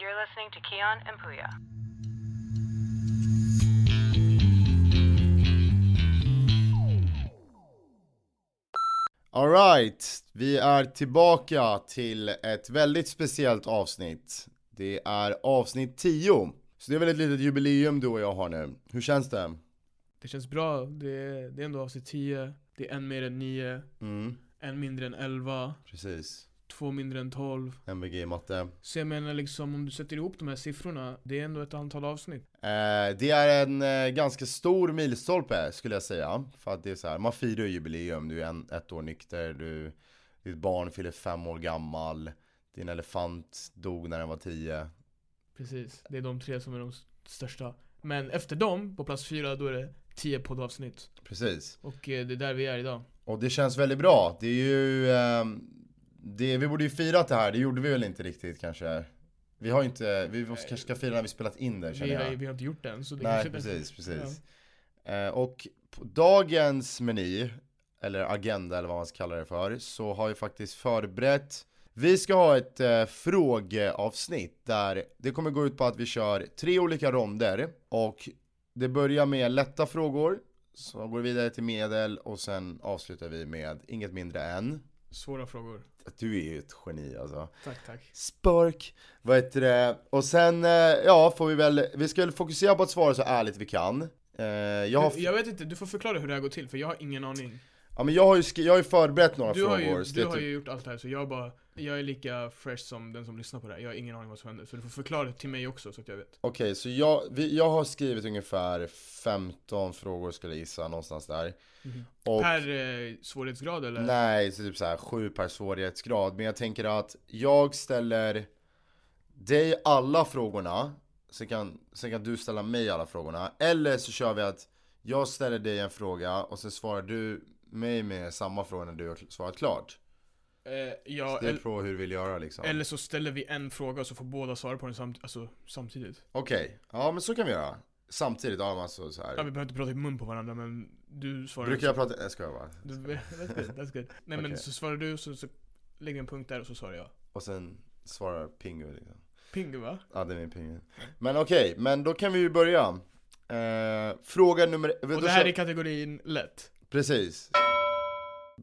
listening to Keon and Puya. Alright, vi är tillbaka till ett väldigt speciellt avsnitt. Det är avsnitt 10. Så det är väl ett litet jubileum du och jag har nu. Hur känns det? Det känns bra, det är, det är ändå avsnitt 10 Det är en mer än 9 Mm, En mindre än 11 precis. Två mindre än 12 MVG i matte. Så jag menar liksom om du sätter ihop de här siffrorna Det är ändå ett antal avsnitt Eh, det är en eh, ganska stor milstolpe skulle jag säga. För att det är så här, man firar jubileum, du är en, ett år nykter, du, ditt barn fyller fem år gammal, din elefant dog när den var tio. Precis, det är de tre som är de s- största Men efter dem, på plats 4, då är det 10 poddavsnitt Precis. Och eh, det är där vi är idag Och det känns väldigt bra. Det är ju... ehm, det, vi borde ju firat det här, det gjorde vi väl inte riktigt kanske. Vi har ju inte, vi måste kanske ska fira när vi spelat in det känner Vi har, jag. vi har inte gjort det än så det Nej kanske precis, precis. Eh, och på dagens meny, eller agenda eller vad man ska kalla det för, så har jag faktiskt förberett vi ska ha ett eh, frågeavsnitt där det kommer gå ut på att vi kör tre olika ronder och det börjar med lätta frågor, så går vidare till medel och sen avslutar vi med inget mindre än Svåra frågor du är ju ett geni alltså. Tack tack Spark. Vad heter det? Och sen, eh, ja, får vi väl, vi ska väl fokusera på att svara så ärligt vi kan. Eh, Jag har, jag, jag vet inte, du får förklara hur det här går till för jag har ingen aning ja, men jag har ju, skri- jag har ju förberett några Du frågor. har ju, så det du är har typ- ju gjort allt det här så jag bara Jag är lika fresh som den som lyssnar på det här, jag har ingen aning vad som händer Så du får förklara det till mig också så att jag vet Okej, så jag, vi, jag har skrivit ungefär 15 frågor skulle jag gissa, någonstans där. Mhm. Och, Per eh, svårighetsgrad eller? nej, så typ så här sju per svårighetsgrad. Men jag tänker att jag ställer dig alla frågorna, sen kan, sen kan du ställa mig alla frågorna. Eller så kör vi att jag ställer dig en fråga och sen svarar du mig med samma fråga när du har svarat klart. Eh, ja, Det är el, på hur du vill göra liksom. eller så ställer vi en fråga och så får båda svara på den samt, alltså, samtidigt Okej, ja men så kan vi göra. Samtidigt, ja men alltså så Ja här. vi behöver inte prata i mun på varandra men du svarar Brukar jag prata, nej ska jag bara. du, that's good, that's good. Nej Okej. men så svarar du så, så lägger vi en punkt där och så svarar jag Och sen svarar Pingu liksom. Pingu va? Ja det är min pingu. Men okej, men då kan vi ju börja. Eh, fråga nummer... Och det här är kategorin lätt Precis.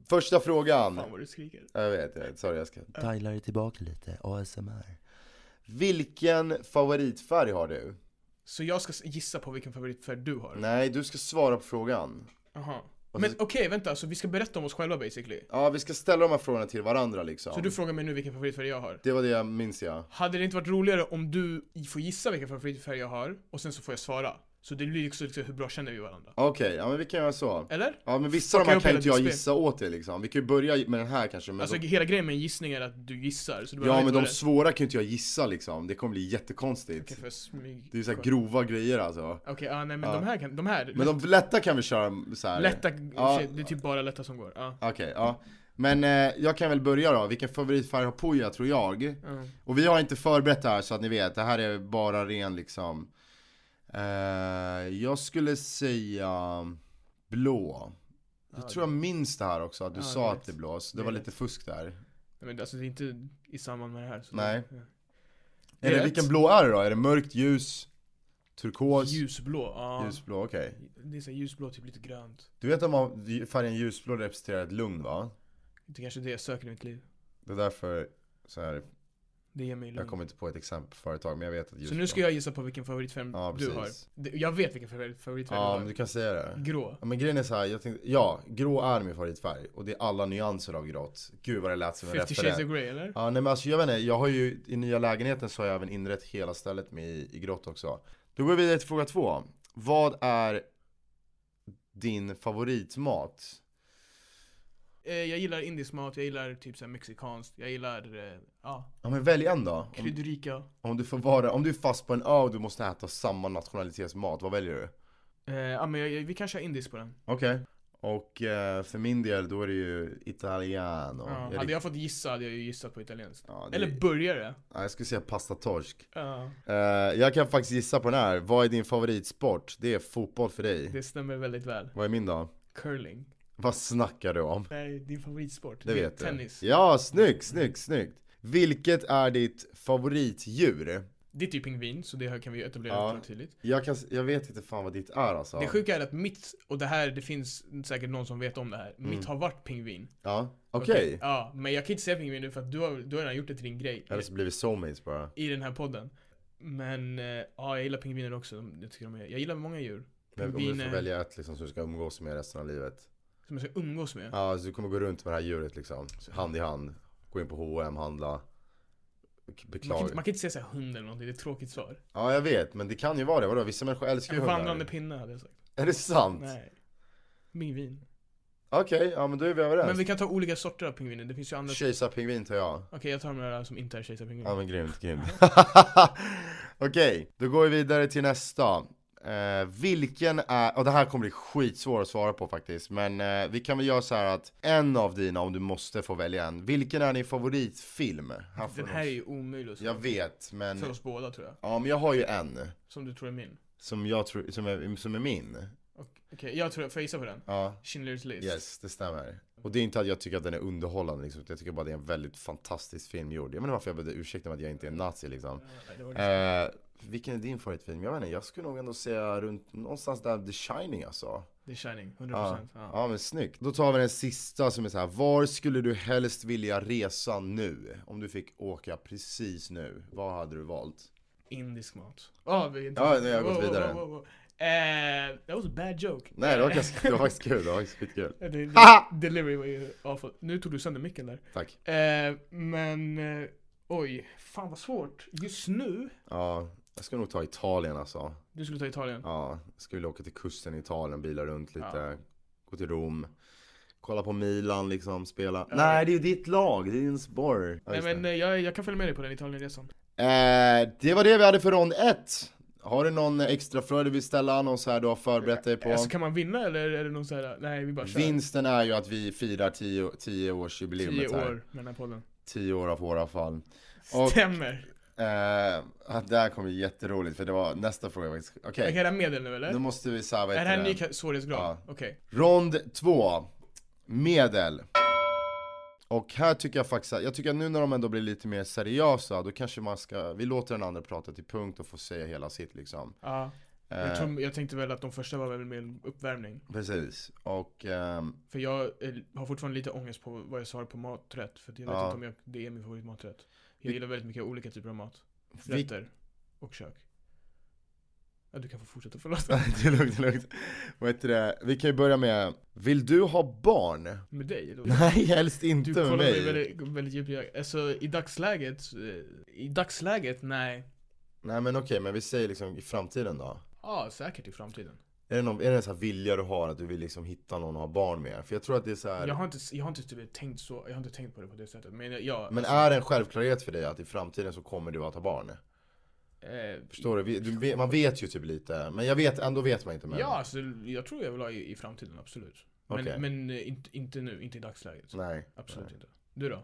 Första frågan. Fan vad du skriker Jag vet, jag vet. Sorry, jag ska... Diala det tillbaka lite, ASMR. Vilken favoritfärg har du? Så jag ska s- gissa på vilken favoritfärg du har? Nej, du ska svara på frågan. Aha. Och Men så- okej, vänta, så vi ska berätta om oss själva basically? Ja, vi ska ställa de här frågorna till varandra liksom. Så du frågar mig nu vilken favoritfärg jag har? Det var det jag minns jag. Hade det inte varit roligare om du får gissa vilken favoritfärg jag har, och sen så får jag svara? Så det blir också liksom, hur bra känner vi varandra? Okej, ja men vi kan göra så. Eller? Ja men vissa av de Fucka här upp kan hela inte jag ditt spel. gissa åt dig liksom. Vi kan ju börja med den här kanske. Men Alltså så... hela grejen med en gissning är att du gissar, så du behöver Ja men inte de vara rätt. svåra kan ju inte jag gissa liksom. Det kommer bli jättekonstigt. Okej, för smyg... Det är så här grova grejer alltså. Okej, ja, nej men Ja. de här kan, de här, Men de lätta kan vi köra så här. lätta, Ja. shit, det är typ bara lätta som går. Ja. Okej, ja. Men eh, jag kan väl börja då. Vilken favoritfärg har Puja tror jag? Mm. Och vi har inte förberett det här så att ni vet. Det här är bara ren liksom. Eh, jag skulle säga blå. Jag tror jag minns det här också, att du Ja, det sa är att rätt. det är blå, så det Det var är rätt. lite fusk där. Nej, men alltså det är inte i samband med det här. Så Nej. Det, Det är Eller rätt. vilken blå är det då? Är det mörkt, ljus, ja. turkos? Ljusblå, ja. Ljusblå, okej. Det är så här ljusblå, typ lite grönt. Du vet om man- färgen ljusblå representerar ett lugn va? Det är kanske är det jag söker i mitt liv. Det är därför så här, Det ger mig lugn. jag kommer inte på ett exempel på företag men jag vet att ljusblå Så nu ska jag gissa på vilken favoritfärg Ja, du har. precis. Det- Jag vet vilken favorit- favoritfärg Ja du men har. du kan säga det. Grå. Ja, men grejen är så här, jag tänkte, ja, grå är min favoritfärg och det är alla nyanser av grått. Gud vad det lät som en 50 shades of referens. grey eller? Ja nej men alltså jag vet inte, jag har ju i nya lägenheten så har jag även inrett hela stället med i, i grått också. Då går vi vidare till fråga två. Vad är din favoritmat? Eh, Jag gillar indisk mat, jag gillar typ såhär mexikanskt, jag gillar, eh, ja, Ja men välj en då. Om, kryddrika. om du får vara, om du är fast på en ö och du måste äta samma nationalitetsmat, vad väljer du? Eh, Ja men jag, jag- vi kan köra indisk på den. Okej. Och eh, för min del då är det ju italiano. Ja, Jag hade rikt- jag fått gissa hade jag ju gissat på italienskt. ja, det... Eller burgare. ja, jag skulle säga pasta torsk. Ja, Eh, jag kan faktiskt gissa på den här. Vad är din favoritsport? Det är fotboll för dig. det stämmer väldigt väl. Vad är min då? Curling. Vad snackar du om? Nej, din favoritsport. Det vet du. Tennis. Ja, snyggt, snyggt, snyggt. Vilket är ditt favoritdjur? Ditt är ju pingvin, så det här kan vi etablera Ja. väldigt tydligt. Jag, kan, jag vet inte fan vad ditt är alltså. Det sjuka är att mitt, och det här, det finns säkert någon som vet om det här. Mitt har varit pingvin. Ja, Mm. okej. Ja, men jag kan inte säga pingvin nu för att du har, du har redan gjort det till din grej Eller så blir vi soulmates bara. i, i den här podden. Men, eh, ja, jag gillar pingviner också. De- Jag, tycker de är, jag gillar många djur. Men om du Pingviner. får välja ett liksom som du ska umgås med resten av livet. Som jag ska umgås med. Ja, så du kommer gå runt med det här djuret liksom. Hand i hand. Gå in på H&M, handla. Man kan, Beklaga. inte- man kan inte säga såhär hund eller någonting, det är ett tråkigt svar. Ja, jag vet. Men det kan ju vara det. Vadå? Vissa människor älskar ju En vandrande hundar. pinne hade jag sagt. Är det sant? Nej. Pingvin. Okej, ja men då är vi Men överens. vi kan ta olika sorter av pingviner, det finns ju andra. Kejsarpingvin tar jag. Okej, jag tar de där som inte är kejsarpingviner. Ja men grymt, grymt. Okej, då går vi vidare till nästa. Eh, vilken är, och det här kommer bli skitsvårt att svara på faktiskt, men eh, vi kan väl göra så här att en av dina, om du måste få välja en, vilken är din favoritfilm? Här får Den du här är någon- ju omöjlig att Jag svara på. vet, men, För oss båda tror jag. ja men jag har ju en, Som du tror är min. som jag tror, som är, som är min. Och- Okej, jag tror, får jag gissa på den? Ja, Schindler's list. yes, det stämmer. Och det är inte att jag tycker att den är underhållande liksom, jag tycker bara det är en väldigt fantastisk film gjord. Jag menar varför jag behövde ursäkta mig att jag inte är nazi liksom. Ja, det var det. Eh, vilken är din favoritfilm? Jag vet inte, jag skulle nog ändå säga runt någonstans där The Shining alltså. The Shining, 100%. Ja, Ja. ja men snyggt. Då tar vi den sista som är så här. var skulle du helst vilja resa nu? Om du fick åka precis nu, vad hade du valt? Indisk mat. Oh, vi är inte- Ja, nej, jag har gått vidare. Wow, wow, wow. Eh, that was a bad joke. Nej det var, ganska, det var faktiskt kul, det var faktiskt skitkul. Eh, det- Haha! Delivery var ju awful. Nu tog du sönder micken där. Tack. Eh, men, eh, oj. Fan vad svårt. Just nu, Ja, jag skulle nog ta Italien alltså. du skulle ta Italien. Ja, jag skulle vilja åka till kusten i Italien, bila runt lite, Ja. gå till Rom. Kolla på Milan liksom, spela. Nej det är ju ditt lag, det är ju en spår. Ja, nej just det. men eh, jag, jag kan följa med dig på den Italienresan. Eh, det var det vi hade för rond 1. Har du någon extra fråga du vill ställa? Någon så här du har förberett dig på? Alltså kan man vinna eller är det någon så här? nej vi bara kör. Vinsten är ju att vi firar 10 10 års Tio jubileumet här. år med den här podden. 10 år av våra fall. Och- Stämmer. Eh, att det här kommer bli jätteroligt för det var nästa fråga faktiskt. Okej, Jag kan göra medel nu eller? nu måste vi säga vad är det här en heter ny det? ka- svårighetsgrad? Ja. Okej. Rond 2. Medel. Och här tycker jag faktiskt att, jag tycker att nu när de ändå blir lite mer seriösa, då kanske man ska, vi låter den andra prata till punkt och få säga hela sitt liksom. Ja. Eh, Jag, tror, jag tänkte väl att de första var väl mer en uppvärmning. Precis, och ehm, För jag eh, har fortfarande lite ångest på vad jag sa på maträtt. För att jag vet Ja. inte om jag, det är min favoritmaträtt. Jag Vi- gillar väldigt mycket olika typer av mat. vi- Rätter och kök. Ja, du kan få fortsätta, förlåt. det är lugnt, det är lugnt. Vad heter det? Vi kan ju börja med, vill du ha barn? Med dig? Eller? Nej, helst Du inte kollar med mig mig. väldigt, väldigt djupt i ögat. Alltså i dagsläget, eh, i dagsläget, nej. Nej men okej, men vi säger liksom i framtiden då. Ja, säkert i framtiden. Är det någon, är det en sån här vilja du har att du vill liksom hitta någon att ha barn med? För jag tror att det är så här. Jag har inte, jag har inte typ tänkt så, jag har inte tänkt på det på det sättet. Men jag, jag alltså, Men är det en självklarhet för dig att i framtiden så kommer du att ha barn? eh, Förstår du? Vi- du? vet- Man vet ju typ lite, men jag vet, ändå vet man inte men. Ja, alltså, jag tror jag vill ha i, i framtiden, absolut. Men, Okej. men eh, inte, inte nu, inte i dagsläget. Nej. Absolut inte. Du då?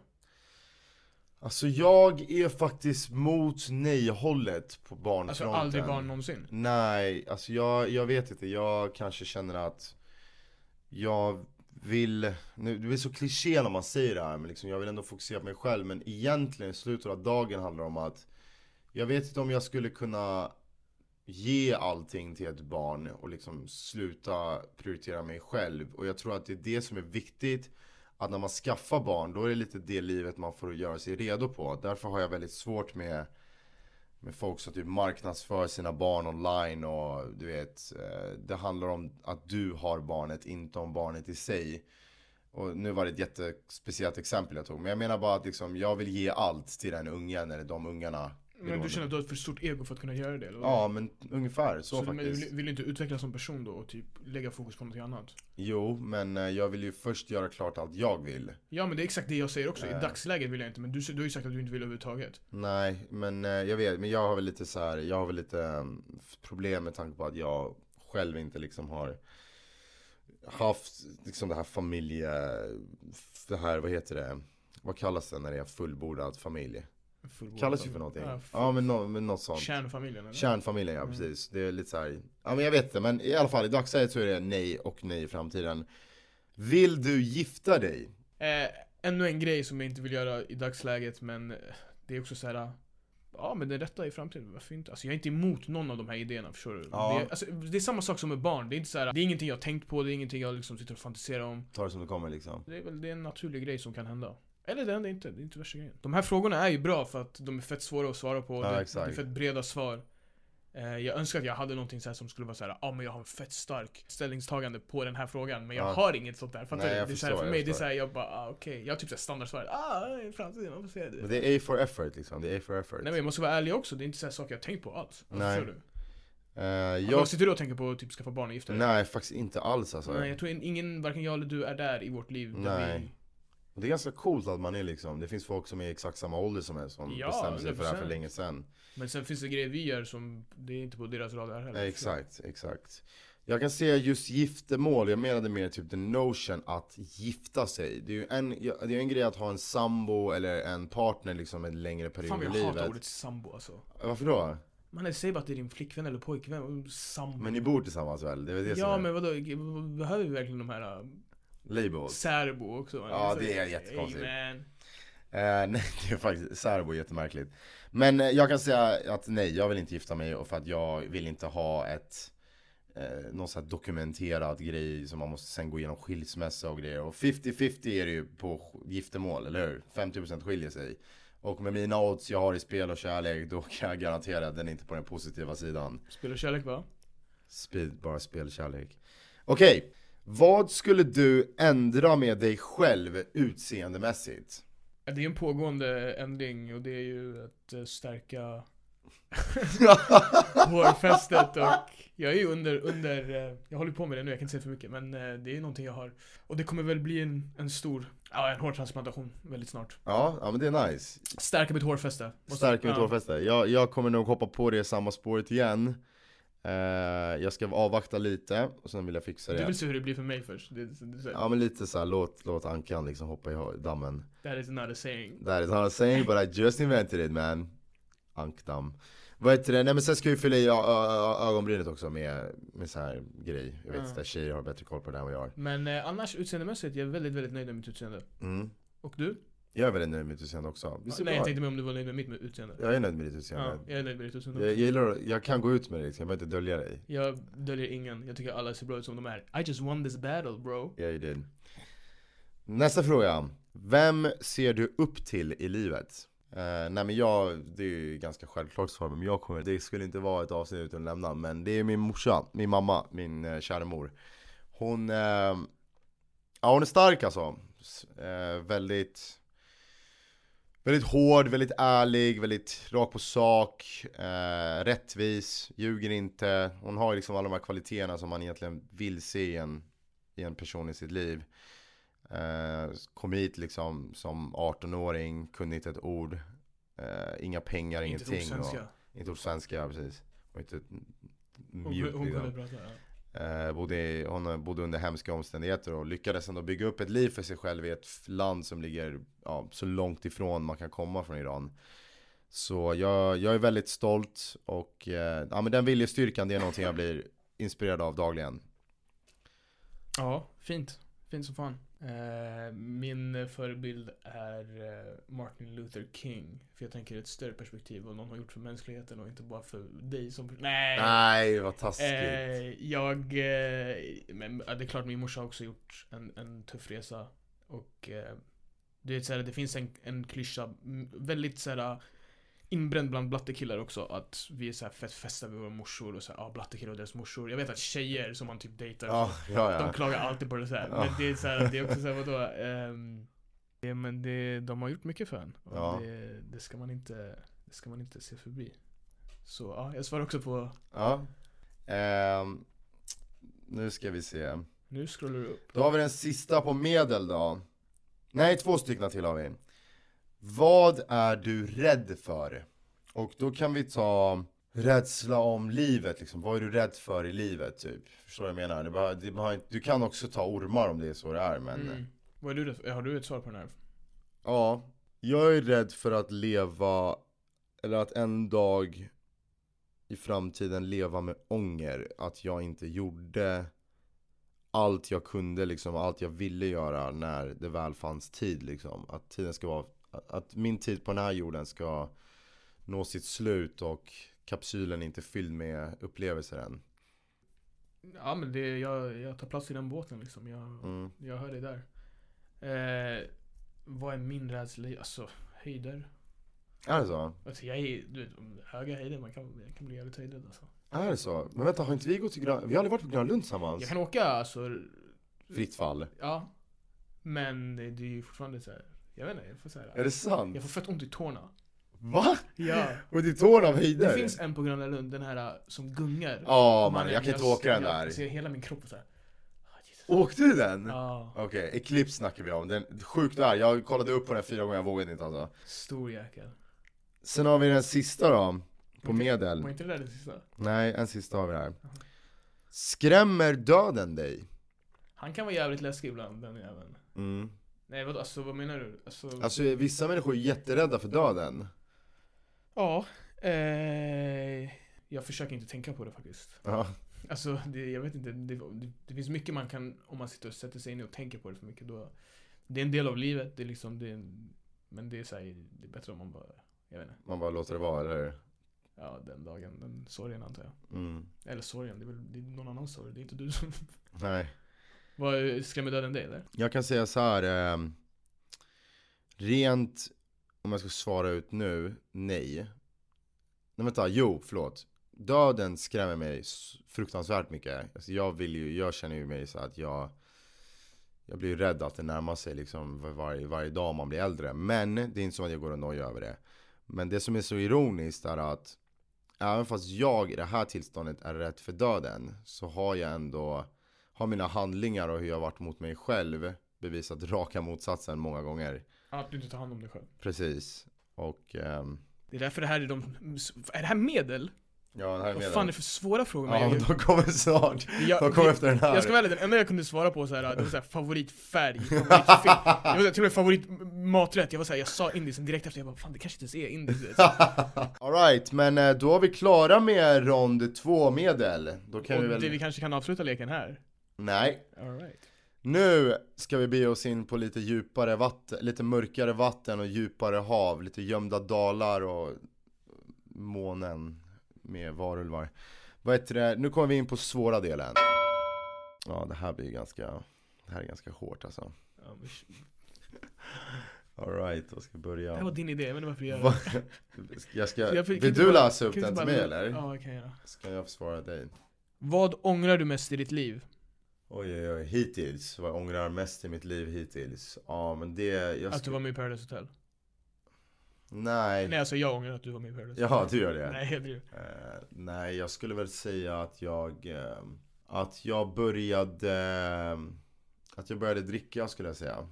Alltså jag är faktiskt mot nej-hållet på barnfronten. Alltså aldrig barn någonsin? Nej, alltså jag, jag vet inte. Jag kanske känner att jag vill, nu, det är så kliché när man säger det här, men liksom, jag vill ändå fokusera på mig själv. Men egentligen i slutet av dagen handlar det om att jag vet inte om jag skulle kunna ge allting till ett barn och liksom sluta prioritera mig själv. Och jag tror att det är det som är viktigt. Att när man skaffar barn, då är det lite det livet man får göra sig redo på. Därför har jag väldigt svårt med med folk som typ marknadsför sina barn online och du vet, eh, det handlar om att du har barnet, inte om barnet i sig. Och nu var det ett jättespeciellt exempel jag tog, men jag menar bara att liksom, jag vill ge allt till den ungen eller de ungarna. Men du känner att du har ett för stort ego för att kunna göra det? Eller? vad? Ja, men ungefär så, så men du faktiskt. vill, vill du inte utvecklas som person då och typ lägga fokus på någonting annat? Jo, men eh, jag vill ju först göra klart allt jag vill. Ja men det är exakt det jag säger också, Nej. i dagsläget vill jag inte men du, du har ju sagt att du inte vill överhuvudtaget. Nej, men eh, jag vet, men jag har väl lite så här, jag har väl lite eh, problem med tanke på att jag själv inte liksom har haft liksom det här familje, det här, vad heter det? Vad kallas det när det är en fullbordad familj? Fullbordad Kallas det familj. för någonting? Ja, Ja, full- men, nå, men något sånt. Kärnfamiljen eller? Kärnfamiljen, ja precis. Det är lite så här, ja men jag vet det, men i alla fall i dagsläget så är det nej och nej i framtiden. Vill du gifta dig? Eh, ännu en grej som jag inte vill göra i dagsläget men eh, det är också så här. Ja men den rätta i framtiden, varför inte? Alltså jag är inte emot någon av de här idéerna, förstår du? Ja. Det, är, alltså, det är samma sak som med barn, det är inte så här, det är ingenting jag har tänkt på, det är ingenting jag liksom sitter och fantiserar om. Ta det som det kommer liksom. Det är väl det är en naturlig grej som kan hända. Eller det händer inte, det är inte värsta grejen. De här frågorna är ju bra för att de är fett svåra att svara på, Ja, det, det exakt. är fett breda svar. Eh, Jag önskar att jag hade någonting så här som skulle vara så här, ja ah, men jag har en fett stark ställningstagande på den här frågan men jag Ja. har inget sånt där. Fattar Nej, du? jag det är så här, förstår, för jag mig det är förstår. såhär, jag bara ah, okej. Jag har typ såhär standardsvaret, ah i framtiden, man får se det. Men det är A for effort liksom, det är A for effort. Nej men jag måste vara ärlig också, det är inte såhär saker jag har tänkt på alls. Alltså, Nej. förstår du? Eh, Jag... jag... Sitter du och tänker på att typ skaffa barn och gifta dig? Nej, faktiskt inte alls alltså. Nej, jag tror in- ingen, varken jag eller du är där i vårt liv. Där Nej. Och Det är ganska coolt att man är liksom, det finns folk som är i exakt samma ålder som en som Ja, bestämde sig för det här för 100%. länge sedan. vi... Men sen finns det grejer vi gör som, det är inte på deras radar heller. Eh, exakt, exakt. Jag kan se just giftermål, jag menade mer typ the notion att gifta sig. Det är ju en, ja, det är ju en grej att ha en sambo eller en partner liksom en längre period Fan i jag livet. hatar ordet sambo alltså. Varför då? Man säg bara att det är din flickvän eller pojkvän, och sambo. Men ni bor tillsammans väl? Det är väl det som ja är men vadå, g- behöver vi verkligen de här äh, labels? särbo också? Alltså, det är jättekonstigt. Amen. Eh, nej, det är faktiskt särbo är jättemärkligt. Men eh, jag kan säga att nej, jag vill inte gifta mig och för att jag vill inte ha ett eh, någon sån här dokumenterad grej som man måste sen gå igenom skilsmässa och grejer. Och 50-50 är det ju på giftermål, eller hur? 50% skiljer sig. Och med mina odds jag har i spel och kärlek, då kan jag garantera att den är inte på den positiva sidan. Spelar kärlek va? Speed, bara spelkärlek. Okej, vad skulle du ändra med dig själv utseendemässigt? Ja, Det är en pågående ändring och det är ju att eh, stärka hårfästet och jag är ju under, under, eh, jag håller på med det nu, jag kan inte säga för mycket men eh, det är någonting jag har. Och det kommer väl bli en, en stor, ja en hårtransplantation väldigt snart. Ja, ja men det är nice. Stärka mitt hårfäste. Måste- Stärker mitt ja. hårfäste. Jag, jag kommer nog hoppa på det samma spåret igen. Eh, jag ska avvakta lite och sen vill jag fixa Du det. vill se hur det blir för mig först. Det, det, det, Ja men lite så här, låt, låt ankan liksom hoppa i ha- dammen. That is not a saying. That is what I'm saying but I just invented it man. Ankdamm. Vad heter det? Nej men sen ska vi fylla i ö- ö- ö- ögonbrynet också med, med så här grej. Jag vet Ja. inte, tjejer har bättre koll på det än vad jag har. Men eh, annars utseendemässigt, jag är väldigt, väldigt nöjd med mitt utseende. Mm. Och du? Jag är väldigt nöjd med mitt utseende också. Visst är det Nej, jag bra? tänkte mig om du var nöjd med mitt utseende. jag är nöjd med ditt Ja, utseende. jag är nöjd med ditt Jag, jag, utseende. gillar, jag kan gå ut med dig, liksom. jag behöver inte dölja dig. Jag döljer ingen, jag tycker alla ser bra ut som de är. I just won this battle bro. Yeah you did. Nästa fråga. Vem ser du upp till i livet? Eh, nej men jag, det är ju ganska självklart svar men jag kommer, det skulle inte vara ett avsnitt utan att nämna men det är min morsa, min mamma, min eh, kära mor. Hon, eh, ja hon är stark alltså. S- Eh, väldigt, väldigt hård, väldigt ärlig, väldigt rakt på sak, eh, rättvis, ljuger inte. Hon har ju liksom alla de här kvaliteterna som man egentligen vill se i en i en person i sitt liv. Eh, kom hit liksom som 18-åring, kunde inte ett ord. Eh, inga pengar, Inte ingenting. ett ord svenska. Och, inte ord svenska, precis. Och inte Hon, mjuk, hon liksom. kunde prata, ja. Eh, bodde, i- hon bodde under hemska omständigheter och lyckades ändå bygga upp ett liv för sig själv i ett f- land som ligger ja, så långt ifrån man kan komma från Iran. Så jag, jag är väldigt stolt och eh, ja, men den viljestyrkan det är någonting jag blir inspirerad av dagligen. Ja, fint. Fint som fan. Eh, min förebild är eh, Martin Luther King. För jag tänker ett större perspektiv vad någon har gjort för mänskligheten och inte bara för dig som... Nej! Nej, vad taskigt. Eh, jag... Eh, men, ja, det är klart, min morsa har också gjort en, en tuff resa. Och eh, det, är så här, det finns en, en klyscha, m- väldigt så här, ah, inbränd bland blattekillar också. Att vi är så här fett fästa vid våra morsor och så här, ja, blattekillar och deras morsor. Jag vet att tjejer som man typ dejtar, Ja, ja, de ja. klagar alltid på det så här. Ja. Men det är, så här, det är också så här, vadå? ehm, det, men det, de har gjort mycket för en. Och Ja. det, det, ska man inte, det ska man inte se förbi. Så ja, jag svarar också på ja. Ehm, nu ska vi se. Nu scrollar du upp. Då har vi den sista på medel då. Nej, två stycken till har vi. Vad är du rädd för? Och då kan vi ta rädsla om livet liksom. Vad är du rädd för i livet typ? Förstår du vad jag menar? Det behöver- det behöver inte- du kan också ta ormar om det är så det är men Mm. Vad är du, rädd för? har du ett svar på den här? Ja, jag är rädd för att leva, eller att en dag i framtiden leva med ånger. Att jag inte gjorde allt jag kunde liksom, allt jag ville göra när det väl fanns tid liksom. Att tiden ska vara, att min tid på den här jorden ska nå sitt slut och kapsylen är inte fylld med upplevelser än. Ja men det, jag, jag tar plats i den båten liksom. Jag, Mm. jag hör dig där. Eh, vad är min rädsla? Alltså höjder. Är det så? Alltså jag är, du vet, om höga höjder, man kan, jag kan bli jävligt höjdrädd alltså. Är det så? Men vänta, har inte vi gått till Grön... Vi har aldrig varit på Grönlund Jag tillsammans? kan åka alltså, Fritt fall. ja. Men det, det är ju fortfarande så här. jag vet inte, jag får så Är här, det sant? Jag får fett ont i tårna. Va? Ja. Och det är tårna av Det höjder? finns en på Gröna Lund, den här äh, som gungar. Ja Och man, jag kan inte åka den jag- där. Oh. Alltså, hela min kropp är såhär. Ah, Jesus. Åkte du den? Ja, Okej, Eclipse snackar vi om. Den, sjukt där. Jag kollade upp på den fyra gånger, jag vågade inte alltså. stor jäkel. Sen har vi den sista då. På medel. Var inte det där det sista? Nej, en sista har vi här. Skrämmer döden dig? Han kan vara jävligt läskig ibland, den jäveln. Mm. Nej vad, alltså, vad menar du? Alltså, Alltså vissa människor är jätterädda för döden. ja. Eh, jag försöker inte tänka på det faktiskt. Ja. Alltså, det, jag vet inte. Det, det, det finns mycket man kan, om man sitter och sätter sig in i och tänker på det för mycket då. Det är en del av livet, det är liksom, det är, en- men det är så här, det är bättre om man bara, jag vet inte. Man bara låter det vara, eller hur? Ja, den dagen, den sorgen antar jag. mm. Eller sorgen, det är väl det är någon annans sorg. Det är inte du som... Nej. Vad, skrämmer döden dig eller? Jag kan säga så här. ehm, rent, om jag ska svara ut nu, nej. Nej vänta, jo, förlåt. Döden skrämmer mig s- fruktansvärt mycket. Alltså jag vill ju, jag känner ju mig så att jag Jag blir ju rädd att det närmar sig liksom var- varje, varje dag man blir äldre. Men det är inte som att jag går och nojar över det. Men det som är så ironiskt är att Även fast jag i det här tillståndet är rädd för döden Så har jag ändå Har mina handlingar och hur jag varit mot mig själv Bevisat raka motsatsen många gånger Att du inte tar hand om dig själv. Precis Och ehm, Det är därför det här är de... Är det här medel? Ja det här är Vad med fan är den. det för svåra frågor? man Ja gör? de kommer snart jag, De kommer efter den här jag ska vara ärlig, den enda jag kunde svara på så här, det var så här favoritfärg, favoritfilm Jag var till och med favoritmaträtt, jag var så här, jag sa indiskt direkt efter, jag bara fan det kanske inte ens är indiskt Alright, men eh, då är vi klara med rond två medel. Då kan Och vi väl... det, vi kanske kan avsluta leken här Nej. All right. Nu ska vi bege oss in på lite djupare vatten, lite mörkare vatten och djupare hav, lite gömda dalar och månen med varulvar. Vad heter det? Nu kommer vi in på svåra delen. Ja, det här blir ganska, det här är ganska hårt alltså. Ja, men sh- Alright, då ska vi Det här var börja. din idé, jag vet inte varför du gör Va- det Jag ska, Jag fick vill inte du bara- läsa upp Kan du den inte till bara- mig eller? Ja, jag kan göra Ska jag försvara dig? Vad ångrar du mest i ditt liv? Oj, oj, oj, hittills. Vad jag ångrar mest i mitt liv hittills? Ja, men det... Jag Att du sku- var med i Paradise Hotel? Nej. Nej alltså jag ångrar att du var med i Paradise Ja, du gör det. Hotel Nej. Nej jag driver Eh, nej, jag skulle väl säga att jag... eh, att jag började... eh, att jag började dricka skulle jag säga.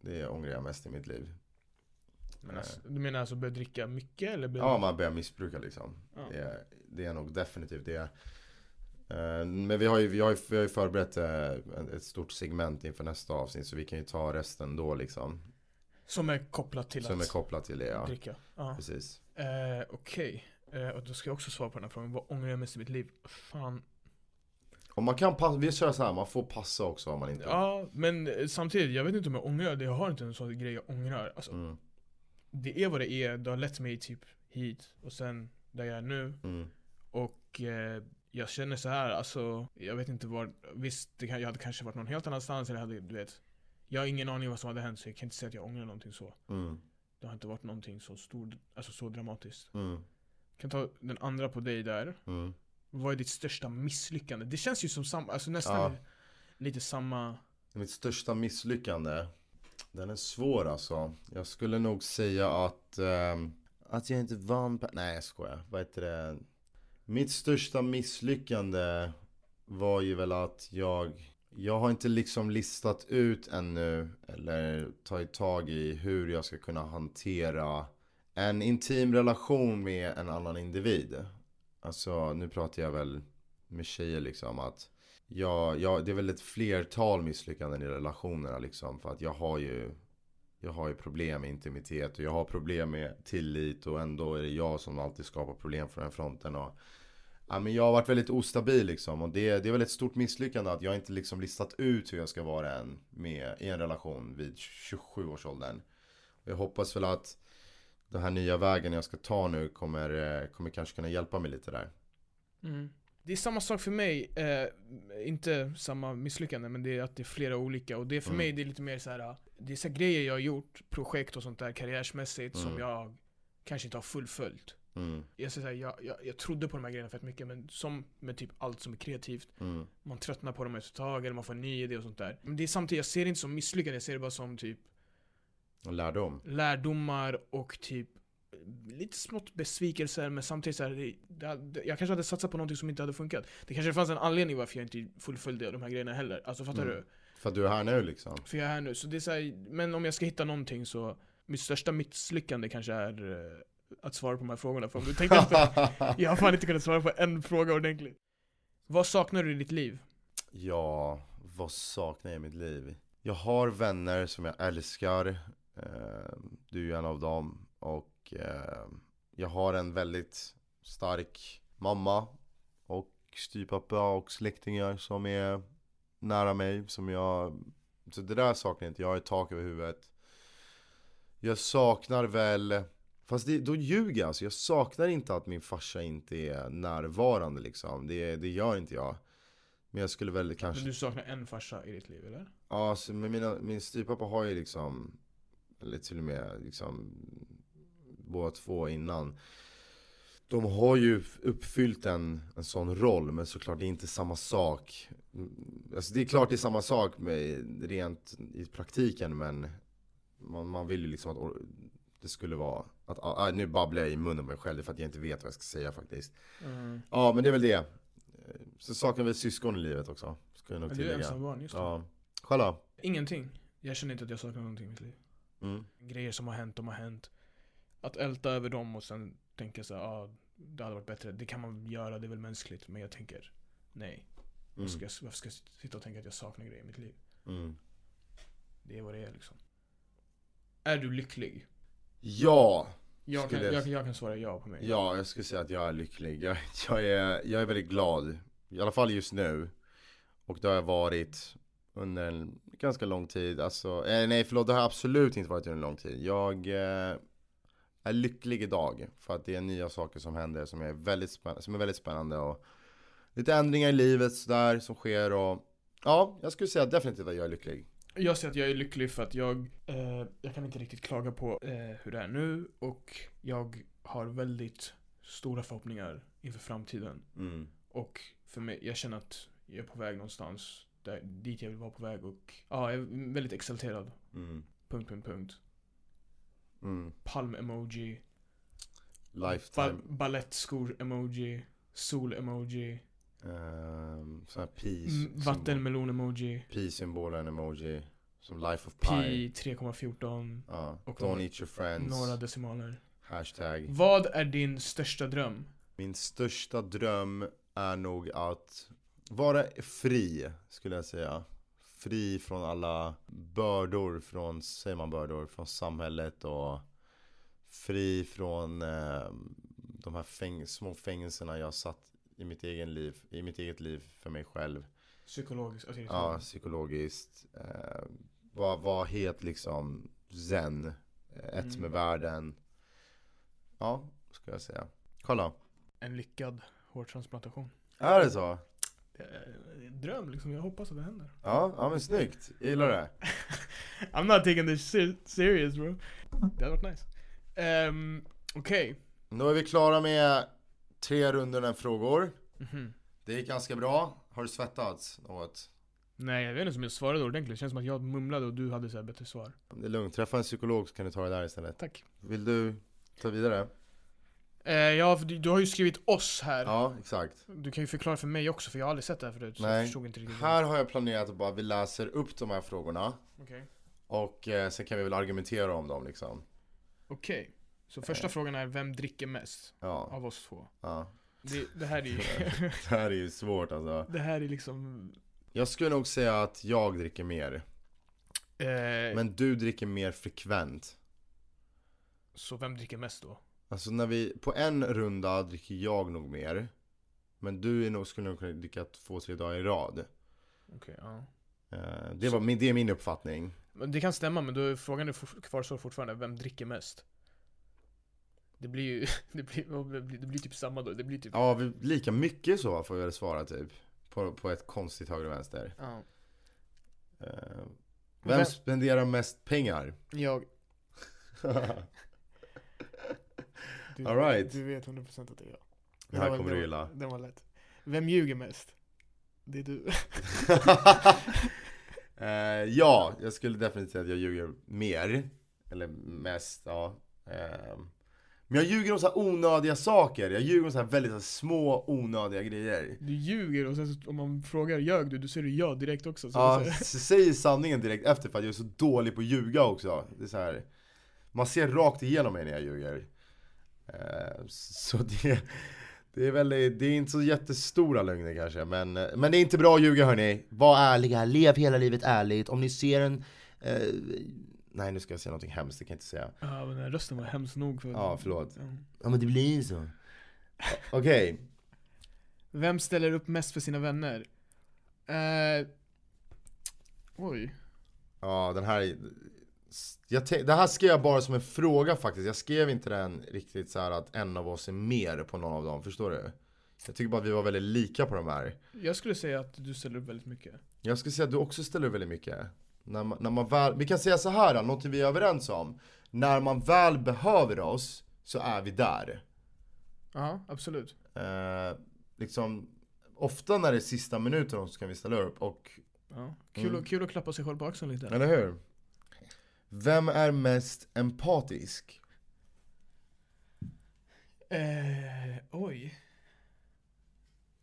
Det ångrar jag mest i mitt liv. men alltså, Du menar alltså börja dricka mycket eller? börja- Ja, man börjar missbruka liksom. Ja. Det är, det är nog definitivt det. Eh, Men vi har ju, vi har ju, vi har ju förberett eh, ett stort segment inför nästa avsnitt så vi kan ju ta resten då liksom. Som är kopplat till Som är att kopplat till det ja. dricka? Ja. Precis. Eh, Okej, eh, och då ska jag också svara på den här frågan. Vad ångrar jag mest i mitt liv? Fan. Och man kan passa, vi kör så här, man får passa också om man inte... Ja, men eh, samtidigt, jag vet inte om jag ångrar det. Jag har inte en sån grej jag ångrar. Alltså, Mm, det är vad det är. Det har lett mig typ hit och sen där jag är nu. mm, Och eh, jag känner så här, alltså, jag vet inte var. Visst, det kan, jag hade kanske varit någon helt annanstans eller hade, du vet. Jag har ingen aning om vad som hade hänt så jag kan inte säga att jag ångrar någonting så. mm, Det har inte varit någonting så stort, alltså så dramatiskt. mm, kan ta den andra på dig där. mm. Vad är ditt största misslyckande? Det känns ju som samma, alltså nästan Ja. lite samma Mitt största misslyckande. Den är svår alltså. Jag skulle nog säga att... ehm, att jag inte vann... Pe- Nej jag skojar. Vad heter det? Mitt största misslyckande var ju väl att jag... Jag har inte liksom listat ut ännu eller tagit tag i hur jag ska kunna hantera en intim relation med en annan individ. Alltså nu pratar jag väl med tjejer liksom att Ja, ja, det är väl ett flertal misslyckanden i relationerna liksom. För att jag har ju, jag har ju problem med intimitet och jag har problem med tillit och ändå är det jag som alltid skapar problem från den fronten. Och, ja, men jag har varit väldigt ostabil liksom och det, det är väl ett stort misslyckande att jag inte liksom listat ut hur jag ska vara än med, i en relation vid 27 års åldern. Och jag hoppas väl att den här nya vägen jag ska ta nu kommer, eh, kommer kanske kunna hjälpa mig lite där. Mm. Det är samma sak för mig, eh, inte samma misslyckande men det är att det är flera olika och det är för Mm. mig det är lite mer så här. Det är så här grejer jag har gjort, projekt och sånt där karriärsmässigt som Mm. jag kanske inte har fullföljt. Mm, Jag, säger så här, jag, jag, jag trodde på de här grejerna fett mycket men som med typ allt som är kreativt, mm, man tröttnar på dem efter ett tag eller man får en ny idé och sånt där. Men det är samtidigt, jag ser det inte som misslyckande, jag ser det bara som typ och lärdom. lärdomar och typ lite smått besvikelser men samtidigt så här, det, det, hade- jag kanske hade satsat på någonting som inte hade funkat. Det kanske fanns en anledning varför jag inte fullföljde de här grejerna heller. Alltså fattar Mm. du? För att du är här nu liksom. För jag är här nu. Så det är så här, men om jag ska hitta någonting så, mitt största misslyckande kanske är eh, att svara på de här frågorna. För om du tänker efter, jag har fan inte kunnat svara på en fråga ordentligt. Vad saknar du i ditt liv? Ja, vad saknar jag i mitt liv? Jag har vänner som jag älskar. Eh, Du är ju en av dem. Och eh, jag har en väldigt stark mamma och styvpappa och släktingar som är nära mig. Som jag... Så det där saknar jag inte. Jag har ett tak över huvudet. Jag saknar väl... Fast det, då ljuger jag. Alltså. Jag saknar inte att min farsa inte är närvarande liksom. Det, det gör inte jag. Men jag skulle väl kanske... Men du saknar en farsa i ditt liv eller? Ja, alltså, men mina, min styvpappa har ju liksom, eller till och med liksom, båda två innan. De har ju uppfyllt en, en sån roll, men såklart det är inte samma sak. Mm, Alltså det är klart det är samma sak med, rent i praktiken, men man, man vill ju liksom att or- det skulle vara, att, ah, ah, nu babblar jag i munnen på mig själv för att jag inte vet vad jag ska säga faktiskt. Ja, men det är väl det. Så saknar vi syskon i livet också, ska jag nog Du är tillägga. ensambarn, just det. Ja. Själv då? Ingenting. Jag känner inte att jag saknar någonting i mitt liv. Mm. grejer som har hänt, de har hänt. Att älta över dem och sen tänka så här, ah, det hade varit bättre. Det kan man göra, det är väl mänskligt. Men jag tänker, nej. Mm. Varför ska jag, varför ska jag sitta och tänka att jag saknar grejer i mitt liv? Mm. Det är vad det är liksom. Är du lycklig? Ja, Jag kan, Skulle jag- jag, jag kan svara ja på mig. ja, jag skulle säga att jag är lycklig. Jag, jag, är, jag är väldigt glad. I alla fall just nu. Och det har jag varit under en ganska lång tid. Alltså, eh, nej förlåt, det har jag absolut inte varit under en lång tid. Jag eh, är lycklig idag. För att det är nya saker som händer som är väldigt, spän- som är väldigt spännande. Och lite ändringar i livet sådär som sker. Och, ja, jag skulle säga definitivt att jag är lycklig. Jag säger att jag är lycklig för att jag, eh, jag kan inte riktigt klaga på eh, hur det är nu. Och jag har väldigt stora förhoppningar inför framtiden. Mm. Och för mig, jag känner att jag är på väg någonstans där, dit jag vill vara på väg och ja, jag är väldigt exalterad. Mm. Punkt, punkt, punkt. Mm. Palm-emoji. Lifetime. Ba- Balettskor-emoji. Sol-emoji. Um, sån här peace. m- Vattenmelon-emoji. Pi-symbolen emoji. Som life of pi. Pi 3,14. Ja. Och Don't några- eat your friends. Några decimaler. Hashtag. Vad är din största dröm? Min största dröm är nog att vara fri, skulle jag säga. Fri från alla bördor från, säger man bördor, från samhället och fri från eh, de här fäng- små fängelserna jag satt i mitt, egen liv, i mitt eget liv för mig själv. Psykologiskt? Alltså, Ja, psykologiskt. Eh, vad, vad het liksom zen. eh, Ett Mm. med världen. Ja, skulle jag säga. Kolla. En lyckad hårtransplantation. Är det så? Det är en dröm liksom, jag hoppas att det händer. Ja, ja men snyggt. Jag gillar det. I'm not taking this ser- serious bro. Det hade varit nice. Um, Okej. Då är vi klara med tre rundor frågor. Mhm. Det gick ganska bra. Har du svettats något? Nej jag vet inte om jag svarade ordentligt, det känns som att jag mumlade och du hade så här bättre svar. Det är lugnt. Träffa en psykolog så kan du ta det där istället. Tack. Vill du ta vidare? Eh, ja, för du, du har ju skrivit oss här. Ja, exakt. Du kan ju förklara för mig också för jag har aldrig sett det här förut. Så Nej. jag förstod inte riktigt. Här har jag planerat att bara vi läser upp de här frågorna. Okej. Och eh, sen kan vi väl argumentera om dem liksom. Okej. Så Eh. första frågan är, vem dricker mest Ja, av oss två? ja. Det, det här är ju... Det här är ju svårt alltså. det här är liksom... Jag skulle nog säga att jag dricker mer. Eh, Men du dricker mer frekvent. Så vem dricker mest då? Alltså när vi, på en runda dricker jag nog mer. Men du är nog, skulle nog kunna dricka två, tre dagar i rad. Okej, ja. Eh, Det, var min, det är min uppfattning. Men det kan stämma, men då är frågan är for- kvarstår fortfarande, vem dricker mest? Det blir ju, det blir, vad blir det Det blir typ samma då. Det blir typ... Ja, vi, lika mycket så får vi väl svara typ. På, på ett konstigt höger och vänster. Ja. Eh, vem Vem- spenderar mest pengar? Jag. Du, All right. du vet 100% att det är jag. Det här var- kommer du var- gilla. Den var lätt. Vem ljuger mest? Det är du. Eh, ja, jag skulle definitivt säga att jag ljuger mer. Eller mest, ja. Ehm, men jag ljuger om så här onödiga saker. Jag ljuger om så här väldigt så här små onödiga grejer. Du ljuger och sen så, om man frågar ljög du, då säger du ja direkt också. Så Ja, så- s- säger sanningen direkt efter för att jag är så dålig på att ljuga också. Det är så här, man ser rakt igenom mig när jag ljuger. Eh, s- Så det, det är väldigt, det är inte så jättestora lögner kanske. Men, men det är inte bra att ljuga hörni. Var ärliga, lev hela livet ärligt. Om ni ser en... Eh, nej nu ska jag säga någonting hemskt, det kan jag inte säga. Ja, "Ah, men den här rösten var hemskt nog för... Mm. Ja, förlåt. Ja. Ja men det blir ju så. Okej. Vem ställer upp mest för sina vänner? Eh, oj. Ja, den här... Jag te- det här skrev jag bara som en fråga faktiskt. Jag skrev inte den riktigt så här att en av oss är mer på någon av dem. Förstår du? Jag tycker bara att vi var väldigt lika på de här. Jag skulle säga att du ställer upp väldigt mycket. Jag skulle säga att du också ställer upp väldigt mycket. När man, när man väl, vi kan säga så här, någonting vi är överens om. När man väl behöver oss så är vi där. Ja, absolut. Eh, liksom, ofta när det är sista minuten också så kan vi ställa upp. Och, Ja. Kul, Mm. att, kul att klappa sig själv på axeln lite. eller hur? Vem är mest empatisk? Eh, oj.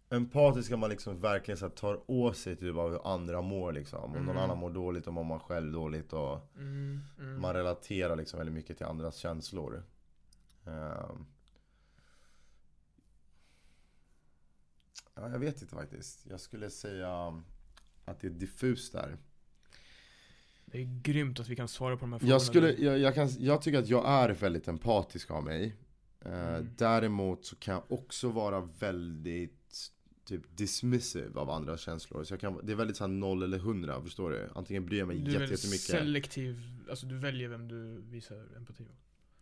empatisk kan man liksom verkligen så här, tar åt sig typ av hur andra mår liksom. Om någon Mm. annan mår dåligt, om man mår själv dåligt och Mm, mm. man relaterar liksom väldigt mycket till andras känslor. Ehm. Ja, jag vet inte faktiskt. Jag skulle säga att det är diffust där. Det är grymt att vi kan svara på de här frågorna. Jag, skulle, jag, jag, kan, jag tycker att jag är väldigt empatisk av mig. Eh, Mm. Däremot så kan jag också vara väldigt typ dismissive av andras känslor. Så jag kan, det är väldigt såhär 0 eller 100, förstår du? Antingen bryr jag mig du är jätte- väldigt jättemycket. selektiv, alltså du väljer vem du visar empati mot.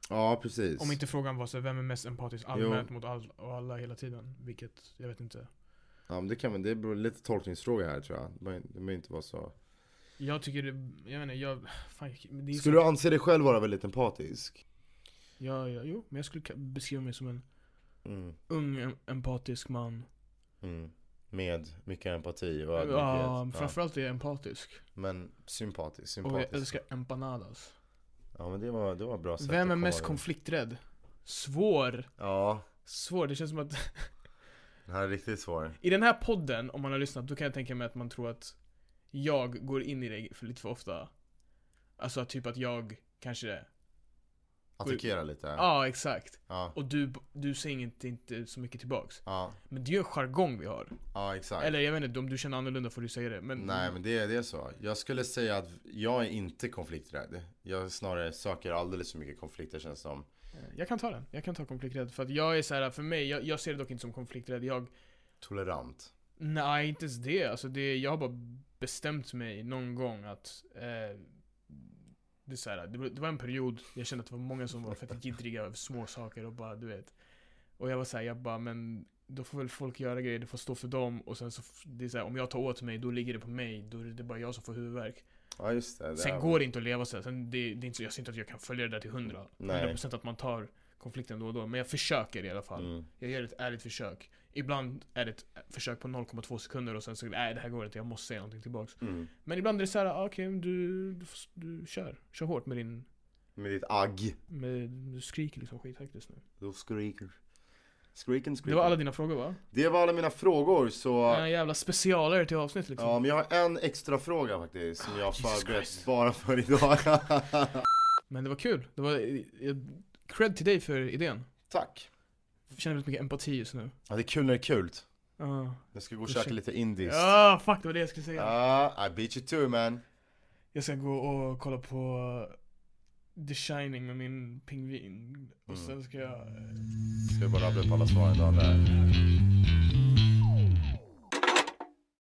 ja, precis. Om inte frågan var så här, vem är mest empatisk allmänt mot all, och alla hela tiden? Vilket, jag vet inte. Ja, men det, kan, man- det beror lite tolkningsfråga här tror jag. Det behöver- Det behöver inte vara så. Jag tycker det, jag vet inte, jag, fan, jag- men det är Skulle så, du anse dig själv vara väldigt empatisk? ja, ja, jo, men jag skulle ka- beskriva mig som en Mm. ung em- empatisk man. Mm. Med mycket empati och ödmjukhet. Ja, Ja, framförallt är jag empatisk. Men sympatisk, Och jag sympatisk. älskar empanadas. Ja men det var, det var bra sätt att Vem är komma mest över. konflikträdd? Svår. Ja, Svår, det känns som att Den här är riktigt svår. I den här podden, om man har lyssnat, då kan jag tänka mig att man tror att jag går in i det för lite för ofta. Alltså typ att jag kanske... Ja, Attackera lite. exakt. Ja. Och du, du säger inte, inte så mycket tillbaks. Ja, Men det är ju en jargong vi har. ja exakt. Eller jag vet inte, om du känner annorlunda får du säga det. Men, Nej men det, är- det är så. Jag skulle säga att jag är inte konflikträdd. Jag snarare söker alldeles för mycket konflikter känns det som. eh, Jag kan ta den. Jag kan ta konflikträdd. För att jag är så här, för mig, jag, jag ser det dock inte som konflikträdd. Jag, Tolerant. nej inte ens det. Alltså det, jag har bara bestämt mig någon gång att eh, det, är så här, det, var, det var en period, jag kände att det var många som var fett gidriga över små saker och bara, du vet. Och jag var såhär, jag bara, men då får väl folk göra grejer, det får stå för dem. Och sen så, f- det är så här, om jag tar åt mig, då ligger det på mig. Då är det bara jag som får huvudvärk. Ja just det. det Sen är- går det inte att leva så här. Sen det, det är inte så, jag ser inte att jag kan följa det där till hundra. Nej. 100% att man tar konflikten då och då. Men jag försöker i alla fall. Mm. Jag gör ett ärligt försök. Ibland är det ett försök på 0,2 sekunder och sen så, nej det här går inte, jag måste säga någonting tillbaks. Mm. Men ibland är det så här, ah, okej du, du, får- du kör. Kör hårt med din, Med ditt agg. med, du skriker liksom skithögt just nu. Då skriker. Skriken, Det var alla dina frågor va? det var alla mina frågor så... En jävla specialare till avsnitt liksom. Ja men jag har en extra fråga faktiskt som jag har Ah, Jesus förberett Christ. bara för idag. Men det var kul. Det var, eh, cred till dig för idén. Tack. Jag känner väldigt mycket empati just nu. Ja det är kul när det är kul. Ja, Jag ska gå och käka lite indiskt. Ja, fuck det var det jag skulle säga. Ah, I beat you too man. Jag ska gå och kolla på eh, The Shining med min pingvin. Och sen ska jag... eh, Ska vi bara rabbla upp alla svaren då? Där.